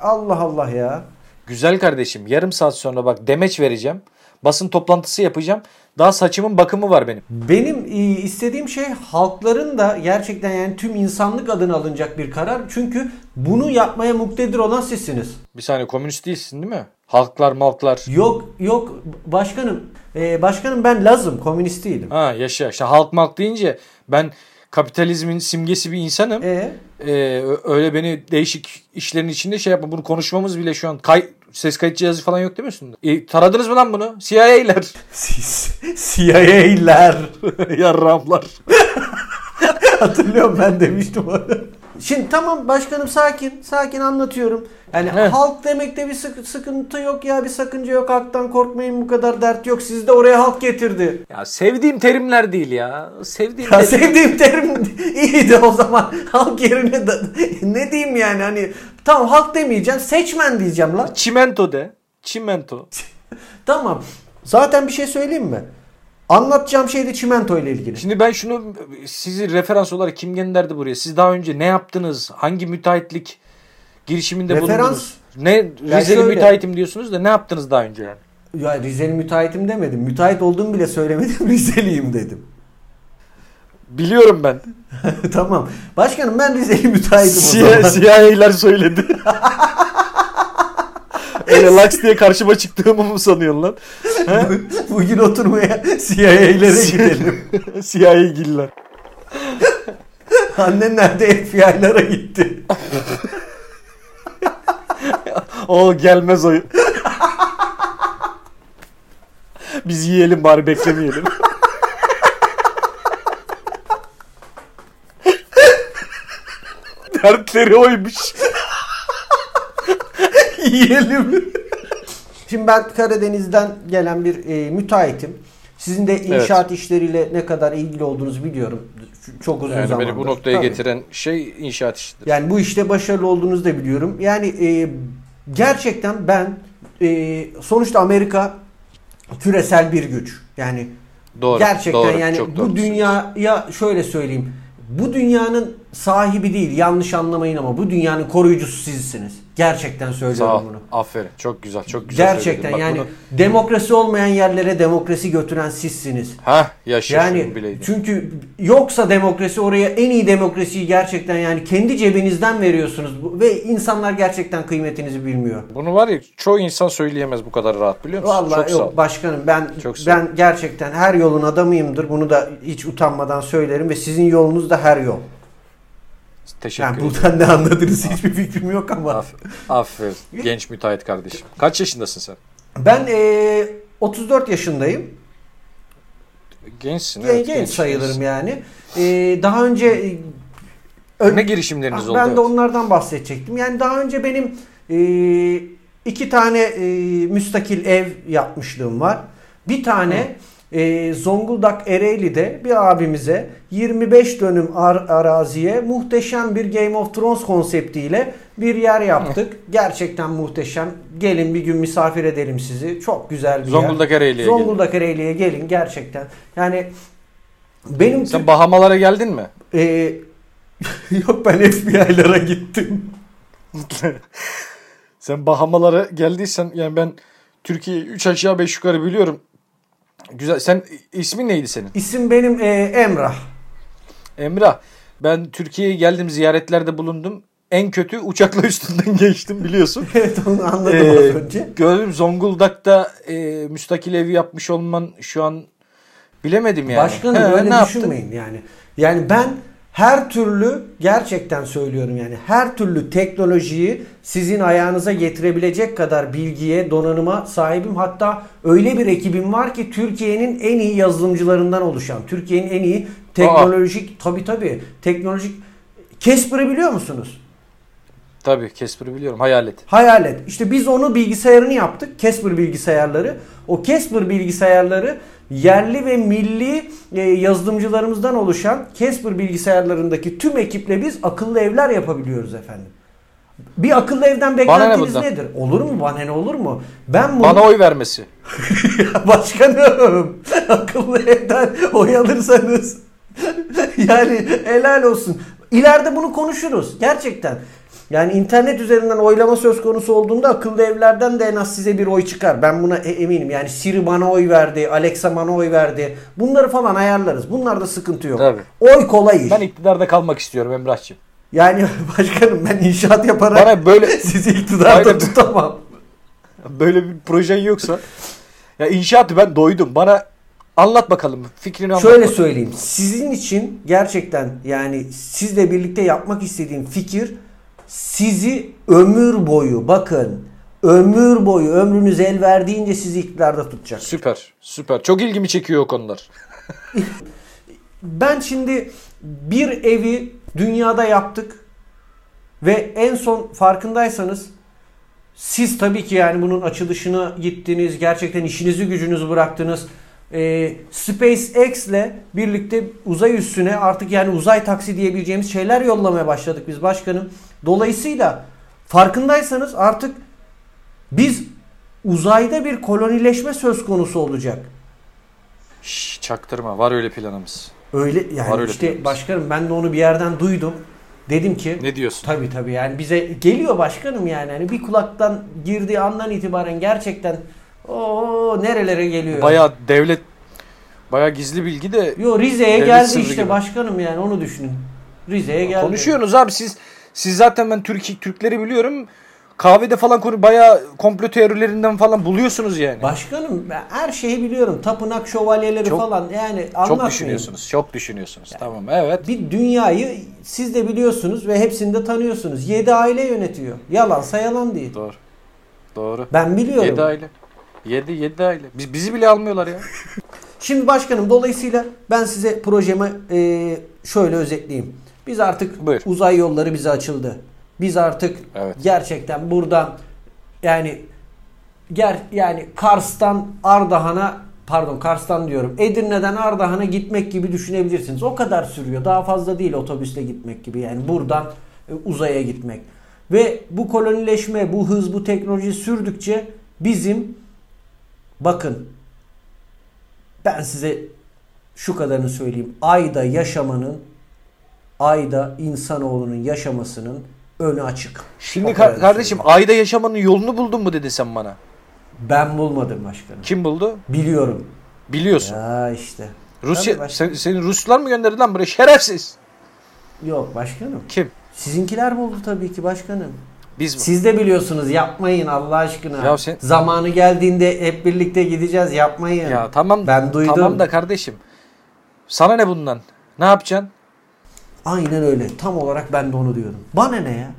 Allah Allah ya.
Güzel kardeşim yarım saat sonra bak demeç vereceğim. Basın toplantısı yapacağım. Daha saçımın bakımı var benim.
Benim e, istediğim şey halkların da gerçekten yani tüm insanlık adına alınacak bir karar. Çünkü bunu yapmaya muktedir olan sizsiniz.
Bir saniye komünist değilsin değil mi? Halklar malklar.
Yok yok başkanım. Ee, başkanım ben Lazım komünist değilim.
Ha yaşa. İşte halk malk deyince ben kapitalizmin simgesi bir insanım.
E
Ee, ö- öyle beni değişik işlerin içinde şey yapma. Bunu konuşmamız bile şu an kay ses kayıt cihazı falan yok değil mi üstünde? E, taradınız mı lan bunu? CIA'ler.
siz CIA'ler
Yarramlar.
hatırlıyorum ben demiştim onu. Şimdi tamam başkanım sakin sakin anlatıyorum. Yani
Heh.
halk demekte bir sık- sıkıntı yok ya bir sakınca yok halktan korkmayın bu kadar dert yok. Siz de oraya halk getirdi.
Ya sevdiğim terimler değil ya. Sevdiğim
Ya
terim-
sevdiğim terim iyi de o zaman halk yerine da- ne diyeyim yani hani tamam halk demeyeceğim seçmen diyeceğim lan.
Çimento de. Çimento.
Tamam. Zaten bir şey söyleyeyim mi? Anlatacağım şey de çimento ile ilgili.
Şimdi ben şunu sizi referans olarak kim gönderdi buraya? Siz daha önce ne yaptınız? Hangi müteahhitlik girişiminde
Referans-
bulundunuz? Ne Rizeli
şöyle-
müteahhitim diyorsunuz da ne yaptınız daha önce yani?
Ya Rizeli müteahhitim demedim. Müteahhit olduğumu bile söylemedim. Rizeliyim dedim.
Biliyorum ben.
tamam. Başkanım ben Rizeli müteahhitim o
Siyah,
zaman.
siyahiler söyledi. Öyle laks diye karşıma çıktığımı mı sanıyorsun lan?
Bugün oturmaya CIA'lere gidelim.
Siyahi giller.
Annen nerede FBI'lara gitti.
O gelmez o. Biz yiyelim bari beklemeyelim. Dertleri oymuş.
Yiyelim. Şimdi ben Karadeniz'den gelen bir e, müteahhitim. Sizin de inşaat işleriyle ne kadar ilgili olduğunuzu biliyorum. Çok uzun
Yani
zamandır.
beni bu noktaya
Tabii.
getiren şey inşaat işidir.
Yani bu işte başarılı olduğunuzu da biliyorum. Yani e, gerçekten ben e, sonuçta Amerika küresel bir güç. Yani
Doğru.
gerçekten
doğru,
yani
çok doğru.
bu dünyaya şöyle söyleyeyim. Bu dünyanın sahibi değil. Yanlış anlamayın ama bu dünyanın koruyucusu sizsiniz. Gerçekten
Sağ ol.
söylüyorum bunu.
Aferin. Çok güzel. Çok güzel.
Gerçekten
söyledin. Bak
yani
bunu-
demokrasi olmayan yerlere demokrasi götüren sizsiniz.
Hah yaşa
Yani
şunu bileydin.
çünkü yoksa demokrasi oraya en iyi demokrasiyi gerçekten yani kendi cebinizden veriyorsunuz Bu- ve insanlar gerçekten kıymetinizi bilmiyor.
Bunu var ya çoğu insan söyleyemez bu kadar rahat biliyor musun?
Vallahi
çok sağ ol.
yok başkanım ben
Çok sağ ol.
ben gerçekten her yolun adamıyımdır. Bunu da hiç utanmadan söylerim ve sizin yolunuz da her yol.
Teşekkür
Yani
ederim.
buradan ne anladınız hiçbir fikrim yok ama.
Aferin. Aferin. Genç müteahhit kardeşim. Kaç yaşındasın sen?
Ben eee, 34 yaşındayım.
Gençsin.
Genç, genç sayılırım yani. Ee, daha önce e,
Ne girişimleriniz
Ah,
oldu?
Ben
evet.
de onlardan bahsedecektim. Yani daha önce benim e, iki tane e, müstakil ev yapmışlığım var. Bir tane e, Zonguldak Ereğli'de bir abimize 25 dönüm ar- araziye muhteşem bir Game of Thrones konseptiyle bir yer yaptık. Gerçekten muhteşem. Gelin bir gün misafir edelim sizi. Çok güzel bir
Zonguldak
yer.
Ereğli'ye gelin.
Zonguldak Ereğli'ye gelin gerçekten. Yani benim
Sen Bahamalara geldin mi?
ee, yok ben FBI'lara gittim.
Sen Bahamalara geldiysen yani ben Türkiye 3 aşağı 5 yukarı biliyorum. Güzel. Sen ismin neydi senin?
İsim benim e, Emrah.
Emrah. Ben Türkiye'ye geldim ziyaretlerde bulundum. En kötü uçakla üstünden geçtim biliyorsun.
Evet onu anladım
Ee,
az önce.
Gördüm Zonguldak'ta e, müstakil evi yapmış olman şu an bilemedim yani.
Başkanım
He,
öyle
ne yaptın?
düşünmeyin yani. Yani ben her türlü gerçekten söylüyorum yani her türlü teknolojiyi sizin ayağınıza getirebilecek kadar bilgiye, donanıma sahibim. Hatta öyle bir ekibim var ki Türkiye'nin en iyi yazılımcılarından oluşan, Türkiye'nin en iyi teknolojik tabi tabi teknolojik Casper'ı biliyor musunuz?
Tabii Casper'ı biliyorum hayalet.
Hayalet. İşte biz onu bilgisayarını yaptık. Casper bilgisayarları. O Casper bilgisayarları yerli ve milli e, yazılımcılarımızdan oluşan Casper bilgisayarlarındaki tüm ekiple biz akıllı evler yapabiliyoruz efendim. Bir akıllı evden beklentiniz
bundan?
nedir? Olur mu? Bana ne olur mu? Ben bunu
Bana oy vermesi.
başkanım akıllı evden oy alırsanız yani helal olsun. İleride bunu konuşuruz gerçekten. Yani internet üzerinden oylama söz konusu olduğunda akıllı evlerden de en az size bir oy çıkar. Ben buna e- eminim. Yani Siri bana oy verdi, Alexa bana oy verdi. Bunları falan ayarlarız. Bunlarda sıkıntı yok.
Tabii.
Oy kolay iş.
Ben iktidarda kalmak istiyorum Emrah'cığım.
Yani başkanım ben inşaat yaparak
Bana böyle
sizi iktidarda
Hayır.
tutamam.
böyle bir projen yoksa ya inşaatı ben doydum. Bana anlat bakalım fikrini anlat.
Şöyle
bakalım.
söyleyeyim. Sizin için gerçekten yani sizle birlikte yapmak istediğim fikir sizi ömür boyu bakın ömür boyu ömrünüz el verdiğince sizi iktidarda tutacak.
Süper. Süper. Çok ilgimi çekiyor o konular.
Ben şimdi bir evi dünyada yaptık ve en son farkındaysanız siz tabii ki yani bunun açılışına gittiniz. Gerçekten işinizi gücünüzü bıraktınız. Ee, SpaceX ile birlikte uzay üstüne artık yani uzay taksi diyebileceğimiz şeyler yollamaya başladık biz başkanım. Dolayısıyla farkındaysanız artık biz uzayda bir kolonileşme söz konusu olacak.
Şş, çaktırma. Var öyle planımız.
Öyle yani
Var öyle
işte
planımız.
başkanım ben de onu bir yerden duydum. Dedim ki
Ne diyorsun?
Tabii tabii yani bize geliyor başkanım yani. Hani bir kulaktan girdiği andan itibaren gerçekten o nerelere geliyor.
Bayağı devlet bayağı gizli bilgi de
Yo Rize'ye
Devlet
geldi
sırrı
işte
gibi.
başkanım yani onu düşünün. Rize'ye geldi.
konuşuyorsunuz abi siz siz zaten ben Türk Türkleri biliyorum. Kahvede falan konu bayağı komplo teorilerinden falan buluyorsunuz yani.
Başkanım ben her şeyi biliyorum. Tapınak şövalyeleri
Çok-
falan yani
çok
anlatmayın.
düşünüyorsunuz. Çok düşünüyorsunuz. Tamam evet.
Bir dünyayı siz de biliyorsunuz ve hepsini de tanıyorsunuz. 7 aile yönetiyor. Yalansa yalan değil.
Doğru. Doğru.
Ben biliyorum.
7 aile. 7 7 aile. Biz bizi bile almıyorlar ya.
Şimdi başkanım dolayısıyla ben size projemi e, şöyle özetleyeyim. Biz artık
Buyur.
uzay yolları bize açıldı. Biz artık
Evet.
gerçekten buradan yani ger yani Kars'tan Ardahan'a pardon Kars'tan diyorum. Edirne'den Ardahan'a gitmek gibi düşünebilirsiniz. O kadar sürüyor. Daha fazla değil otobüsle gitmek gibi. Yani buradan e, uzaya gitmek. Ve bu kolonileşme, bu hız, bu teknoloji sürdükçe bizim bakın ben size şu kadarını söyleyeyim. Ayda yaşamanın, ayda insanoğlunun yaşamasının önü açık.
Şimdi
O şey
ka-
kadarını
kardeşim
söyleyeyim.
ayda yaşamanın yolunu buldun mu dedin sen bana?
ben bulmadım başkanım.
Kim buldu?
Biliyorum.
Biliyorsun.
Ya işte. Tabii
Rusya
başkan-
sen, seni Ruslar mı gönderdi lan buraya şerefsiz?
Yok başkanım.
Kim?
Sizinkiler buldu tabii ki başkanım.
Biz mi?
Siz de biliyorsunuz yapmayın Allah aşkına.
Ya sen-
Zamanı geldiğinde hep birlikte gideceğiz yapmayın.
Ya tamam.
Ben duydum.
Tamam da kardeşim. Sana ne bundan? Ne yapacaksın?
Aynen öyle. Tam olarak ben de onu diyordum. Bana ne ya?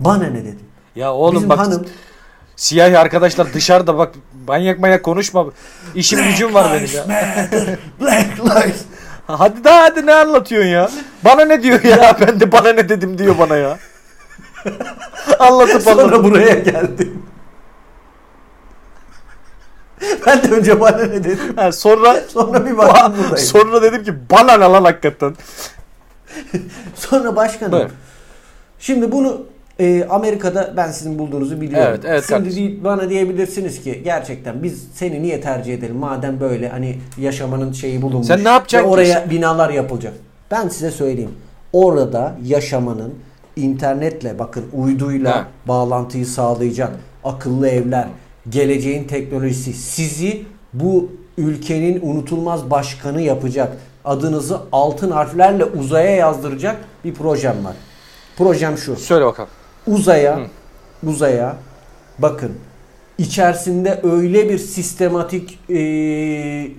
Bana ne dedim.
Ya oğlum
Bizim
bak
hanım
siyahi arkadaşlar dışarıda bak manyak manyak konuşma. İşim gücüm var benim ya.
Black Lives
Hadi daha hadi ne anlatıyorsun ya? Bana ne diyor ya? Ben de bana ne dedim diyor bana ya. Anlatıp anlatıp.
Sonra buraya geldim. ben de önce bana ne dedim.
Ha, sonra
Sonra bir baktım buradayım.
sonra dedim ki bana ne lan hakikaten.
Sonra başkanım.
Buyur.
Şimdi bunu e, Amerika'da ben sizin bulduğunuzu biliyorum.
Evet, evet
Şimdi
kardeşim.
di- bana diyebilirsiniz ki gerçekten biz seni niye tercih edelim madem böyle hani yaşamanın şeyi bulunmuş.
Sen ne yapacaksın
ve
ki?
Oraya binalar yapılacak. Ben size söyleyeyim. Orada yaşamanın internetle bakın uyduyla
Ha.
bağlantıyı sağlayacak akıllı evler, geleceğin teknolojisi sizi bu ülkenin unutulmaz başkanı yapacak. Adınızı altın harflerle uzaya yazdıracak bir projem var. Projem şu.
Söyle bakalım.
Uzaya, uzaya bakın içerisinde öyle bir sistematik e,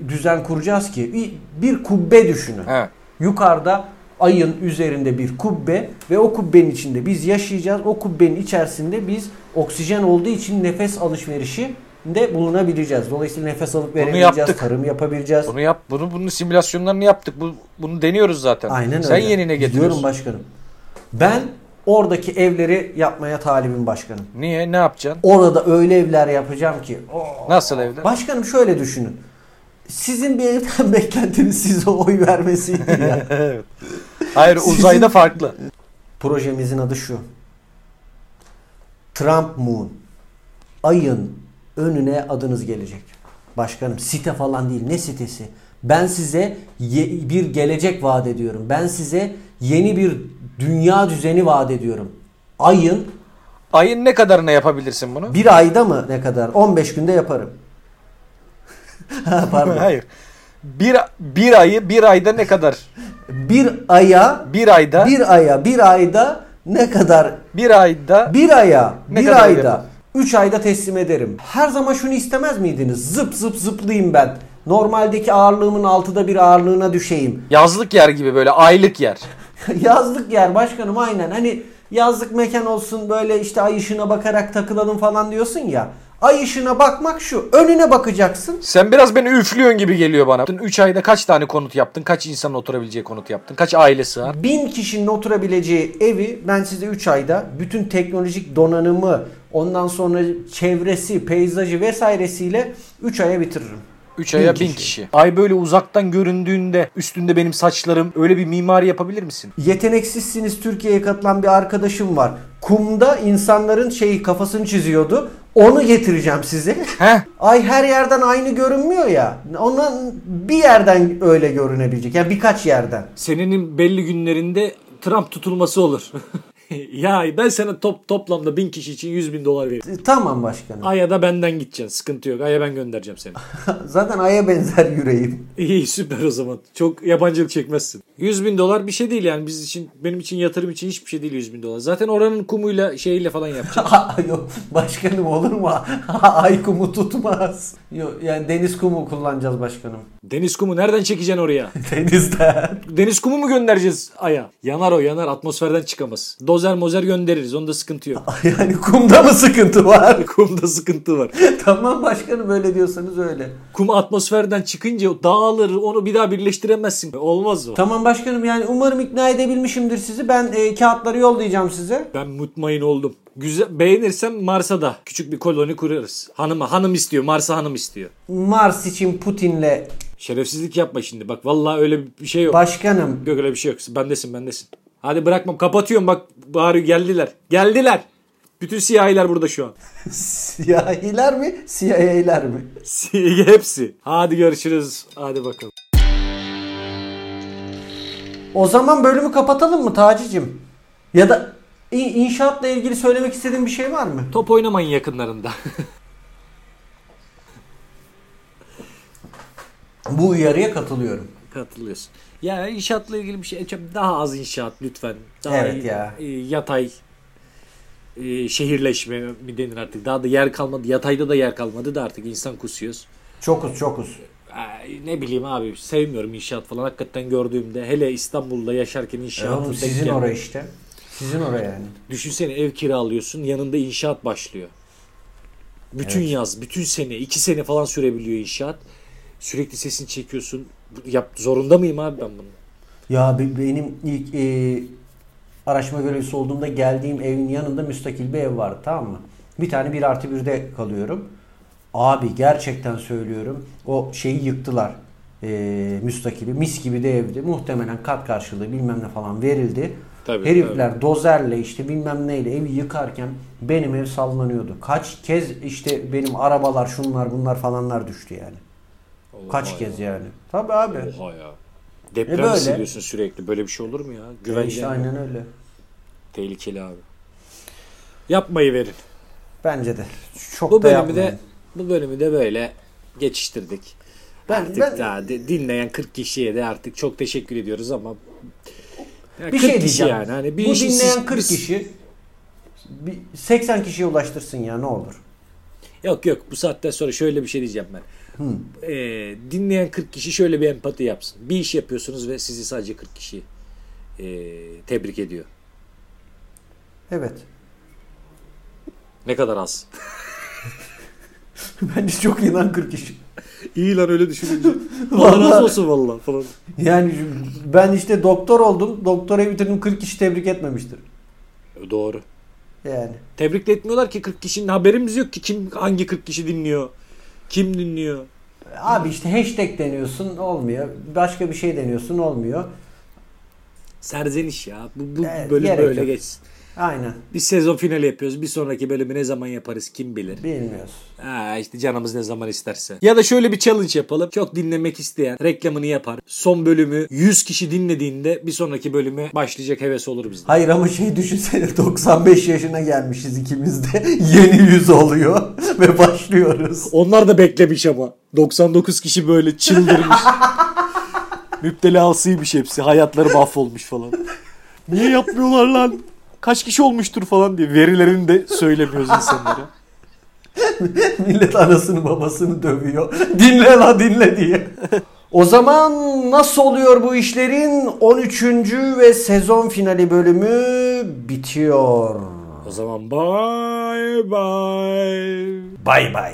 düzen kuracağız ki bir- bir kubbe düşünün.
He.
Yukarıda ayın üzerinde bir kubbe ve o kubbenin içinde biz yaşayacağız. O kubbenin içerisinde biz oksijen olduğu için nefes alışverişi de bulunabileceğiz. Dolayısıyla nefes alıp verebileceğiz,
yaptık.
tarım yapabileceğiz.
Bunu yap bunu bunun simülasyonlarını yaptık. Bu bunu deniyoruz zaten.
Aynen
Sen
öyle.
yenine
Gidiyorum
getiriyorsun.
başkanım. Ben oradaki evleri yapmaya talibim başkanım.
Niye? Ne yapacaksın?
Orada öyle evler yapacağım ki. o-
Nasıl evde?
Başkanım şöyle düşünün. Sizin bir evden beklentiniz size oy vermesiydi ya.
Hayır
Sizin-
uzayda farklı.
Projemizin adı şu. Trump Moon. Ayın önüne adınız gelecek. Başkanım site falan değil. Ne sitesi? Ben size ye- bir gelecek vaat ediyorum. Ben size yeni bir dünya düzeni vaat ediyorum. Ayın
Ayın ne kadarına yapabilirsin bunu?
bir ayda mı ne kadar? 15 günde yaparım. Ha, Pardon.
Hayır. Bir, bir ayı bir ayda ne kadar?
Bir aya
Bir ayda bir,
bir aya bir ayda ne kadar
ayda
bir aya
Ne
bir
kadar
ayda
yapar?
3 ayda teslim ederim. Her zaman şunu istemez miydiniz? Zıp zıp zıplayayım ben. Normaldeki ağırlığımın altıda bir ağırlığına düşeyim.
yazlık yer gibi böyle aylık yer.
yazlık yer başkanım aynen. Hani yazlık mekan olsun böyle işte ay ışığına bakarak takılalım falan diyorsun ya. Ay ışığına bakmak şu. Önüne bakacaksın.
Sen biraz beni üflüyorsun gibi geliyor bana. 3 ayda kaç tane konut yaptın? Kaç insanın oturabileceği konut yaptın? Kaç aile sığar?
Bin kişinin oturabileceği evi ben size 3 ayda bütün teknolojik donanımı ondan sonra çevresi, peyzajı vesairesiyle 3 aya bitiririm.
3 aya
Bin
1000
kişi.
kişi. Ay böyle uzaktan göründüğünde üstünde benim saçlarım öyle bir mimari yapabilir misin?
Yeteneksizsiniz Türkiye'ye katılan bir arkadaşım var. Kumda insanların şeyi kafasını çiziyordu. Onu getireceğim size.
Heh.
Ay her yerden aynı görünmüyor ya. Ondan bir yerden öyle görünebilecek. Yani birkaç yerden.
Senenin belli günlerinde Trump tutulması olur. ya ben sana top, toplamda bin kişi için 100 bin dolar veririm.
E, Tamam başkanım.
Ay'a da benden gideceksin. Sıkıntı yok. Ay'a ben göndereceğim seni.
Zaten aya benzer yüreğim.
İyi süper o zaman. Çok yabancılık çekmezsin. 100 bin dolar bir şey değil yani biz için benim için yatırım için hiçbir şey değil 100 bin dolar. Zaten oranın kumuyla şeyiyle falan yapacağım.
Yok başkanım olur mu? Ay kumu tutmaz. Yok yani deniz kumu kullanacağız başkanım.
Deniz kumu nereden çekeceksin oraya?
Denizden.
Deniz kumu mu göndereceğiz Ay'a? Yanar o yanar atmosferden çıkamaz. Dozer mozer göndeririz onda sıkıntı yok.
yani kumda mı sıkıntı var?
Kumda sıkıntı var.
tamam başkanım öyle diyorsanız öyle.
Kum atmosferden çıkınca dağılır onu bir daha birleştiremezsin. Olmaz o.
Tamam başkanım yani umarım ikna edebilmişimdir sizi. Ben e, kağıtları yollayacağım size.
Ben mutmain oldum. Güzel, beğenirsem Mars'a da küçük bir koloni kurarız. Hanıma hanım istiyor Mars'a hanım istiyor.
Mars için Putin'le
Şerefsizlik yapma şimdi bak vallahi öyle bir şey yok.
başkanım
Yok öyle bir şey yok. Bendesin bendesin. Hadi bırakmam. Kapatıyorum bak. Bari geldiler. Geldiler. Bütün siyahiler burada şu an.
siyahiler mi CIA'ler mi?
Siyahi hepsi. Hadi görüşürüz. Hadi bakalım.
O zaman bölümü kapatalım mı Taci'cim? Ya da İ- inşaatla ilgili söylemek istediğin bir şey var mı?
Top oynamayın yakınlarında.
Bu uyarıya katılıyorum.
Katılıyorsun. Ya inşaatla ilgili bir şey. Daha az inşaat lütfen. Daha
Evet
iyi-
ya.
e, Yatay e, şehirleşme mi denir artık. Daha da yer kalmadı. Yatayda da yer kalmadı da artık insan kusuyoruz.
Çokuz çokuz.
Ay, Ee, ne bileyim abi sevmiyorum inşaat falan. Hakikaten gördüğümde hele İstanbul'da yaşarken
Ya
inşaatın
oğlum
denk
sizin
gelmedi.
oraya işte. Sizin oraya yani.
Düşünsene ev kiralıyorsun yanında inşaat başlıyor. Bütün yaz, bütün sene, iki sene falan sürebiliyor inşaat.
Sürekli sesini çekiyorsun. Bu- Yap, zorunda mıyım abi ben bunu?
Ya be- benim ilk e, araştırma görevlisi olduğumda geldiğim evin yanında müstakil bir ev vardı tamam mı? Bir tane bir artı birde kalıyorum. Abi gerçekten söylüyorum o şeyi yıktılar. E, müstakili mis gibi de evdi. Muhtemelen kat karşılığı bilmem ne falan verildi.
Tabii,
Herifler dozerle işte bilmem neyle evi yıkarken benim ev sallanıyordu. Kaç kez işte benim arabalar şunlar bunlar falanlar düştü yani. Kaç
Oha
kez
ya.
yani. Tabii abi.
Oha ya. Deprem
E böyle.
hissediyorsun sürekli. Böyle bir şey olur mu ya?
E
Güvence.
işte aynen öyle.
Tehlikeli abi. Yapmayı verin.
Bence de. Çok
Bu
da
bölümü
yapmayın.
de bu bölümü de böyle geçiştirdik.
Ben-
artık
ben-
daha di- dinleyen 40 kişiye de artık çok teşekkür ediyoruz ama Ya
bir
40
şey
kişi
diyeceğim.
yani. Hani bir
Bu
işi
dinleyen
siz-
40 kişi bir 80 kişiye ulaştırsın ya ne olur.
Yok yok bu saatten sonra şöyle bir şey diyeceğim ben. Ee, dinleyen 40 kişi şöyle bir empati yapsın. Bir iş yapıyorsunuz ve sizi sadece 40 kişi ee, tebrik ediyor.
Evet.
Ne kadar az.
Bence çok iyi lan 40 kişi.
İyi lan öyle düşününce.
Allah razı
olsun valla falan.
Yani şu- ben işte doktor oldum. Doktorayı bitirdim 40 kişi tebrik etmemiştir.
Doğru.
Yani.
Tebrik de etmiyorlar ki 40 kişinin haberimiz yok ki kim hangi 40 kişi dinliyor. Kim dinliyor?
Abi işte hashtag deniyorsun olmuyor. Başka bir şey deniyorsun olmuyor.
Serzeniş ya. Bu, bu
Evet,
bölüm
gerek
böyle
yok.
geçsin.
Aynen.
Bir sezon finali yapıyoruz. Bir sonraki bölümü ne zaman yaparız kim bilir.
Bilmiyoruz.
Ha işte canımız ne zaman isterse. Ya da şöyle bir challenge yapalım. Çok dinlemek isteyen reklamını yapar. Son bölümü 100 kişi dinlediğinde bir sonraki bölüme başlayacak heves olur bizde.
Hayır ama şey düşünsene 95 yaşına gelmişiz ikimiz de. Yeni yüz oluyor ve başlıyoruz.
Onlar da beklemiş ama. 99 kişi böyle çıldırmış. Müptelasıymış hepsi. Hayatları mahvolmuş falan. Niye yapmıyorlar lan? Kaç kişi olmuştur falan diye. Verilerini de söylemiyoruz insanlara.
Millet anasını babasını dövüyor. Dinle la dinle diye. O zaman nasıl oluyor bu işlerin 13. ve sezon finali bölümü bitiyor.
O zaman bye bye.
Bay bay.